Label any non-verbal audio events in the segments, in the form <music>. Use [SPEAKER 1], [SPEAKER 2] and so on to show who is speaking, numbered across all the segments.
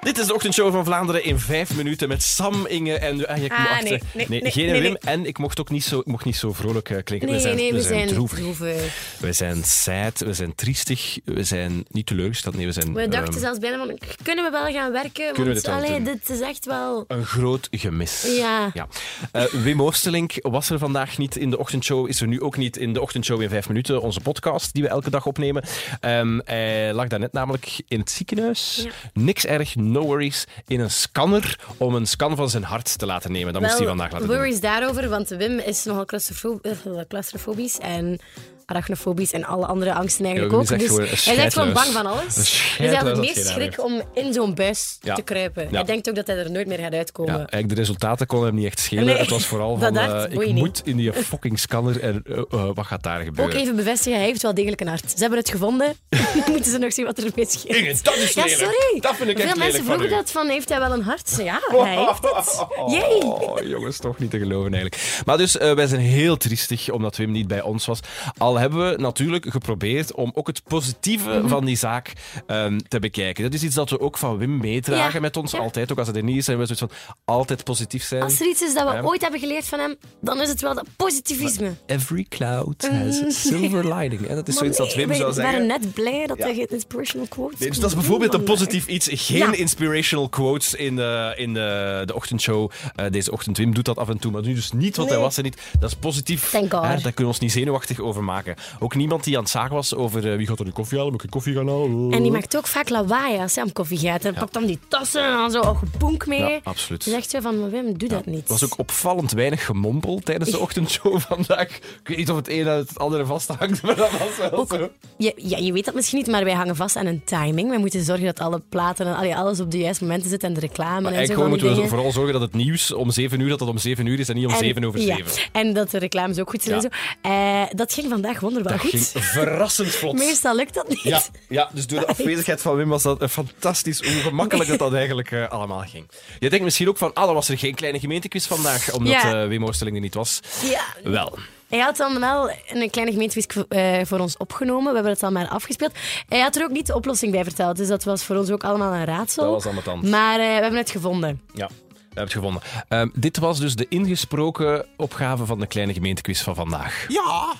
[SPEAKER 1] Dit is de ochtendshow van Vlaanderen in vijf minuten met Sam, Inge en... Ah, je
[SPEAKER 2] Ah,
[SPEAKER 1] mocht,
[SPEAKER 2] nee,
[SPEAKER 1] eh,
[SPEAKER 2] nee, nee,
[SPEAKER 1] geen en
[SPEAKER 2] nee,
[SPEAKER 1] Wim. En ik mocht ook niet zo, ik mocht niet zo vrolijk eh, klinken.
[SPEAKER 2] Nee,
[SPEAKER 1] we zijn,
[SPEAKER 2] nee,
[SPEAKER 1] we zijn droevig.
[SPEAKER 2] droevig.
[SPEAKER 1] We zijn sad, we zijn triestig, we zijn niet teleurgesteld. Nee, we zijn...
[SPEAKER 2] We dachten
[SPEAKER 1] ehm,
[SPEAKER 2] zelfs bijna van, k- kunnen we wel gaan werken?
[SPEAKER 1] we
[SPEAKER 2] Want
[SPEAKER 1] dit wel
[SPEAKER 2] allee,
[SPEAKER 1] doen?
[SPEAKER 2] dit is echt wel...
[SPEAKER 1] Een groot gemis.
[SPEAKER 2] Ja.
[SPEAKER 1] Eh, Wim Oosterlink was er vandaag niet in de ochtendshow. Is er nu ook niet in de ochtendshow in vijf minuten. Onze podcast die we elke dag opnemen. Ehm, hij lag daarnet namelijk in het ziekenhuis.
[SPEAKER 2] Ja.
[SPEAKER 1] Niks erg, no worries. In een scanner om een scan van zijn hart te laten nemen. Dat moest hij
[SPEAKER 2] wel
[SPEAKER 1] vandaag laten doen.
[SPEAKER 2] worries daarover, want Wim is nogal claustrofo- eh, claustrofobisch en arachnofobisch en alle andere angsten eigenlijk
[SPEAKER 1] Ja, Wim
[SPEAKER 2] ook.
[SPEAKER 1] is echt
[SPEAKER 2] Dus
[SPEAKER 1] gewoon een
[SPEAKER 2] hij is echt gewoon bang
[SPEAKER 1] scheidluis.
[SPEAKER 2] van alles. Dus
[SPEAKER 1] Een
[SPEAKER 2] Hij
[SPEAKER 1] scheidluis
[SPEAKER 2] heeft het
[SPEAKER 1] dat
[SPEAKER 2] meest
[SPEAKER 1] hij daar
[SPEAKER 2] schrik om in zo'n buis
[SPEAKER 1] Ja.
[SPEAKER 2] te kruipen.
[SPEAKER 1] Ja.
[SPEAKER 2] Hij denkt ook dat hij er nooit meer gaat uitkomen.
[SPEAKER 1] Ja, eigenlijk de resultaten konden hem niet echt schelen.
[SPEAKER 2] Nee,
[SPEAKER 1] het was vooral
[SPEAKER 2] dat
[SPEAKER 1] van,
[SPEAKER 2] dacht,
[SPEAKER 1] eh, ik
[SPEAKER 2] boeien niet.
[SPEAKER 1] moet in die fucking scanner en eh, eh, wat gaat daar
[SPEAKER 2] Ook
[SPEAKER 1] gebeuren?
[SPEAKER 2] even bevestigen, hij heeft wel degelijk een hart. Ze hebben het
[SPEAKER 1] <laughs>
[SPEAKER 2] gevonden. <laughs> Moeten ze nog zien wat er mee scheelt.
[SPEAKER 1] Inge, dat is
[SPEAKER 2] ja,
[SPEAKER 1] lelijk.
[SPEAKER 2] sorry.
[SPEAKER 1] Dat vind ik
[SPEAKER 2] Veel
[SPEAKER 1] echt lelijk
[SPEAKER 2] mensen
[SPEAKER 1] van
[SPEAKER 2] vroegen
[SPEAKER 1] u.
[SPEAKER 2] dat van, heeft hij wel een hart? Ja, hij heeft het. Jee.
[SPEAKER 1] Oh, jongens, toch niet te geloven eigenlijk. Maar dus, eh, wij zijn heel triestig omdat Wim niet bij ons was. Al hebben we natuurlijk geprobeerd om ook het positieve
[SPEAKER 2] Mhm.
[SPEAKER 1] van die zaak ehm, te bekijken. Dat is iets dat we ook van Wim meedragen
[SPEAKER 2] Ja.
[SPEAKER 1] met ons.
[SPEAKER 2] Ja.
[SPEAKER 1] Altijd, ook als het er niet is, zijn we zoiets van altijd positief zijn.
[SPEAKER 2] Als er iets is dat we
[SPEAKER 1] Ja.
[SPEAKER 2] ooit hebben geleerd van hem, dan is het wel dat positivisme.
[SPEAKER 1] Every cloud
[SPEAKER 2] <laughs>
[SPEAKER 1] has a silver lining. En dat is
[SPEAKER 2] Maar
[SPEAKER 1] zoiets dat
[SPEAKER 2] nee,
[SPEAKER 1] Wim
[SPEAKER 2] we
[SPEAKER 1] zou zeggen.
[SPEAKER 2] waren net blij dat hij geen inspirational quotes
[SPEAKER 1] Nee, dus
[SPEAKER 2] kon
[SPEAKER 1] dat is bijvoorbeeld een
[SPEAKER 2] doen eh, vandaag.
[SPEAKER 1] positief iets. Geen
[SPEAKER 2] Ja.
[SPEAKER 1] inspirational quotes in, de, in de, de ochtendshow eh, deze ochtend. Wim doet dat af en toe, maar nu dus niet, want hij
[SPEAKER 2] Nee.
[SPEAKER 1] was er niet. Dat is positief.
[SPEAKER 2] Thank God.
[SPEAKER 1] Hè, daar kunnen we ons niet zenuwachtig over maken. Ook niemand die aan het zagen was over eh, wie gaat er de koffie halen, moet ik koffie gaan halen.
[SPEAKER 2] En die maakt ook vaak lawaai als hij om koffie gaat. En pakt dan die tassen en dan zo een gepoenk mee.
[SPEAKER 1] Ja, absoluut.
[SPEAKER 2] Je zegt zo van, Wim, doe dat niet.
[SPEAKER 1] Er was ook opvallend weinig gemompel tijdens de ochtendshow <laughs> vandaag. Ik weet niet of het een aan het andere vasthangt, maar dat was wel
[SPEAKER 2] Ook-
[SPEAKER 1] zo.
[SPEAKER 2] je, ja, je weet dat misschien niet, maar wij hangen vast aan een timing. Wij moeten zorgen dat alle platen en allee, alles op de juiste momenten zit en de reclame en zo
[SPEAKER 1] Eigenlijk
[SPEAKER 2] van
[SPEAKER 1] gewoon
[SPEAKER 2] die
[SPEAKER 1] moeten we
[SPEAKER 2] dingen.
[SPEAKER 1] vooral zorgen dat het nieuws om 7 uur, dat het om 7 uur is en niet om
[SPEAKER 2] En-
[SPEAKER 1] 7 over 7.
[SPEAKER 2] Ja, en dat de reclames ook goed zijn
[SPEAKER 1] Ja.
[SPEAKER 2] en zo. Eh, dat ging vandaag wonderbaar
[SPEAKER 1] Dat
[SPEAKER 2] goed.
[SPEAKER 1] ging verrassend vlot.
[SPEAKER 2] <laughs> Meestal lukt dat niet.
[SPEAKER 1] Ja, ja, dus door de afwezigheid van Wim was dat eh, fantastisch hoe gemakkelijk dat, dat eigenlijk eh, allemaal ging. Je denkt misschien ook van, ah, dan was er geen kleine gemeentequiz vandaag, omdat
[SPEAKER 2] Ja.
[SPEAKER 1] eh, Wim Oosterling er niet was.
[SPEAKER 2] Ja.
[SPEAKER 1] Wel.
[SPEAKER 2] Hij had dan wel een kleine gemeentequiz eh, voor ons opgenomen. We hebben het dan maar afgespeeld. Hij had er ook niet de oplossing bij verteld. Dus dat was voor ons ook allemaal een raadsel.
[SPEAKER 1] Dat was allemaal tand.
[SPEAKER 2] Maar eh, we hebben het gevonden.
[SPEAKER 1] Ja, we hebben het gevonden. Ehm, dit was dus de ingesproken opgave van de kleine gemeentequiz van vandaag.
[SPEAKER 3] Ja,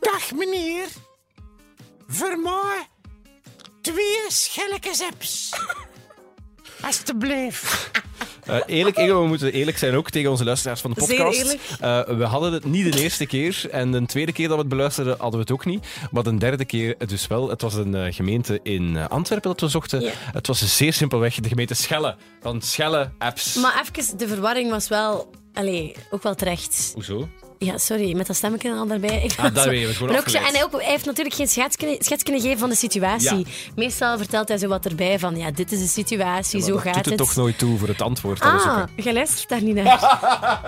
[SPEAKER 3] dag meneer. Vermooi twee schelletjes apps. <laughs> Alsjeblieft.
[SPEAKER 1] Eh, eerlijk, Inge, we moeten eerlijk zijn ook tegen onze luisteraars van de
[SPEAKER 2] Zeer
[SPEAKER 1] podcast.
[SPEAKER 2] eerlijk.
[SPEAKER 1] Eh, we hadden het niet de eerste keer en de tweede keer dat we het beluisterden hadden we het ook niet. Maar de derde keer het dus wel. Het was een eh, gemeente in eh, Antwerpen dat we zochten.
[SPEAKER 2] Ja.
[SPEAKER 1] Het was zeer simpelweg de gemeente Schelle. Van Schelle Apps.
[SPEAKER 2] Maar even, de verwarring was wel... Allee, ook wel terecht.
[SPEAKER 1] Hoezo?
[SPEAKER 2] Ja, sorry, met dat stemmetje al daarbij. Ik
[SPEAKER 1] Ah,
[SPEAKER 2] was
[SPEAKER 1] daar
[SPEAKER 2] zo-
[SPEAKER 1] ben je gewoon
[SPEAKER 2] Maar ook zo- En
[SPEAKER 1] afgeleid.
[SPEAKER 2] hij, ook, hij heeft natuurlijk geen schets kunnen, schets kunnen geven van de situatie. Meestal vertelt hij zo wat erbij van, ja, dit is de situatie, zo
[SPEAKER 1] dat
[SPEAKER 2] gaat
[SPEAKER 1] doet het
[SPEAKER 2] het.
[SPEAKER 1] toch nooit toe voor het antwoord dat we
[SPEAKER 2] ah,
[SPEAKER 1] zoeken.
[SPEAKER 2] jij luistert daar niet naar.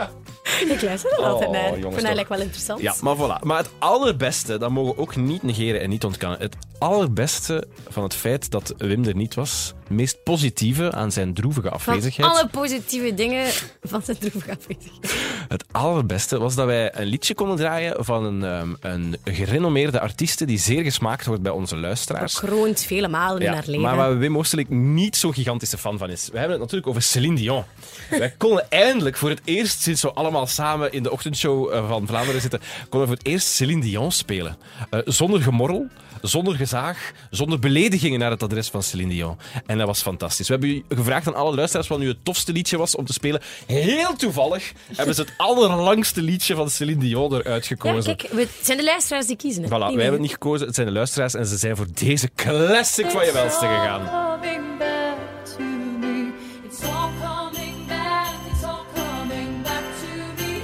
[SPEAKER 1] <laughs>
[SPEAKER 2] ik luister er altijd
[SPEAKER 1] Oh,
[SPEAKER 2] naar.
[SPEAKER 1] jongens,
[SPEAKER 2] ik vind
[SPEAKER 1] toch.
[SPEAKER 2] dat lijkt wel interessant.
[SPEAKER 1] Ja, maar voilà. Maar het allerbeste, dat mogen we ook niet negeren en niet ontkennen. Het allerbeste van het feit dat Wim er niet was, meest positieve aan zijn droevige
[SPEAKER 2] Van
[SPEAKER 1] afwezigheid.
[SPEAKER 2] alle positieve dingen van zijn droevige afwezigheid.
[SPEAKER 1] Het allerbeste was dat wij een liedje konden draaien van een, ehm, een gerenommeerde artieste die zeer gesmaakt wordt bij onze luisteraars.
[SPEAKER 2] Kroont vele malen in haar leven.
[SPEAKER 1] maar waar Wim Oosterlijk niet zo'n gigantische fan van is. We hebben het natuurlijk over Céline Dion. Wij <laughs> konden eindelijk voor het eerst, sinds we allemaal samen in de ochtendshow eh, van Vlaanderen zitten, konden we voor het eerst Céline Dion spelen. Eh, zonder gemorrel, zonder gezaag, zonder beledigingen naar het adres van Céline Dion. En dat was fantastisch. We hebben u gevraagd aan alle luisteraars wat nu het tofste liedje was om te spelen. Heel toevallig hebben ze het <laughs> allerlangste liedje van Céline Dion eruit
[SPEAKER 2] ja,
[SPEAKER 1] gekozen.
[SPEAKER 2] kijk, we- het zijn de luisteraars die kiezen. hè.
[SPEAKER 1] Voilà, wij
[SPEAKER 2] Niet
[SPEAKER 1] hebben
[SPEAKER 2] wij.
[SPEAKER 1] het niet gekozen, het zijn de luisteraars en ze zijn voor deze classic van je welste gegaan.
[SPEAKER 4] coming back to me. It's all coming back. It's all coming back to me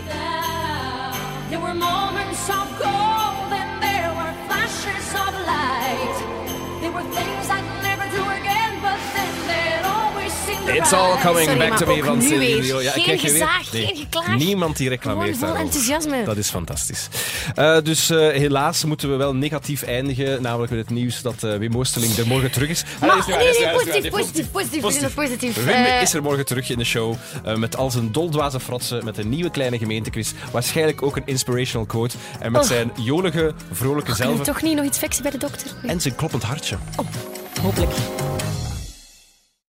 [SPEAKER 4] now. There were moments of gold and there were flashes of light. There were things I'd never do again, but then there always seemed
[SPEAKER 1] It's all coming
[SPEAKER 2] Sorry,
[SPEAKER 1] back
[SPEAKER 2] maar
[SPEAKER 1] to me
[SPEAKER 2] ook
[SPEAKER 1] van
[SPEAKER 2] nu
[SPEAKER 1] Celine
[SPEAKER 2] weer.
[SPEAKER 1] Dion.
[SPEAKER 2] Geen
[SPEAKER 1] kijk je
[SPEAKER 2] gezaag, geen geklaag.
[SPEAKER 1] Niemand die
[SPEAKER 2] Gewoon
[SPEAKER 1] reclameert
[SPEAKER 2] vol
[SPEAKER 1] daarover.
[SPEAKER 2] enthousiasme.
[SPEAKER 1] Dat is fantastisch. Eh, dus eh, helaas moeten we wel negatief eindigen, namelijk met het nieuws dat eh, Wim Oosterling er morgen terug is. Ah,
[SPEAKER 2] Maar-
[SPEAKER 1] hij is nu- hij
[SPEAKER 2] nee,
[SPEAKER 1] is nu-
[SPEAKER 2] nee,
[SPEAKER 1] hij is nu-
[SPEAKER 2] positief, positief, positief, positief, positief.
[SPEAKER 1] Wim
[SPEAKER 2] Eh,
[SPEAKER 1] is er morgen terug in de show eh, met al zijn doldwaze fratsen, met een nieuwe kleine gemeentequiz, waarschijnlijk ook een inspirational quote en met
[SPEAKER 2] Oh.
[SPEAKER 1] zijn jolige, vrolijke
[SPEAKER 2] Kunnen
[SPEAKER 1] zelf
[SPEAKER 2] we toch niet nog iets fixen bij de dokter?
[SPEAKER 1] en zijn kloppend hartje.
[SPEAKER 2] Hopelijk.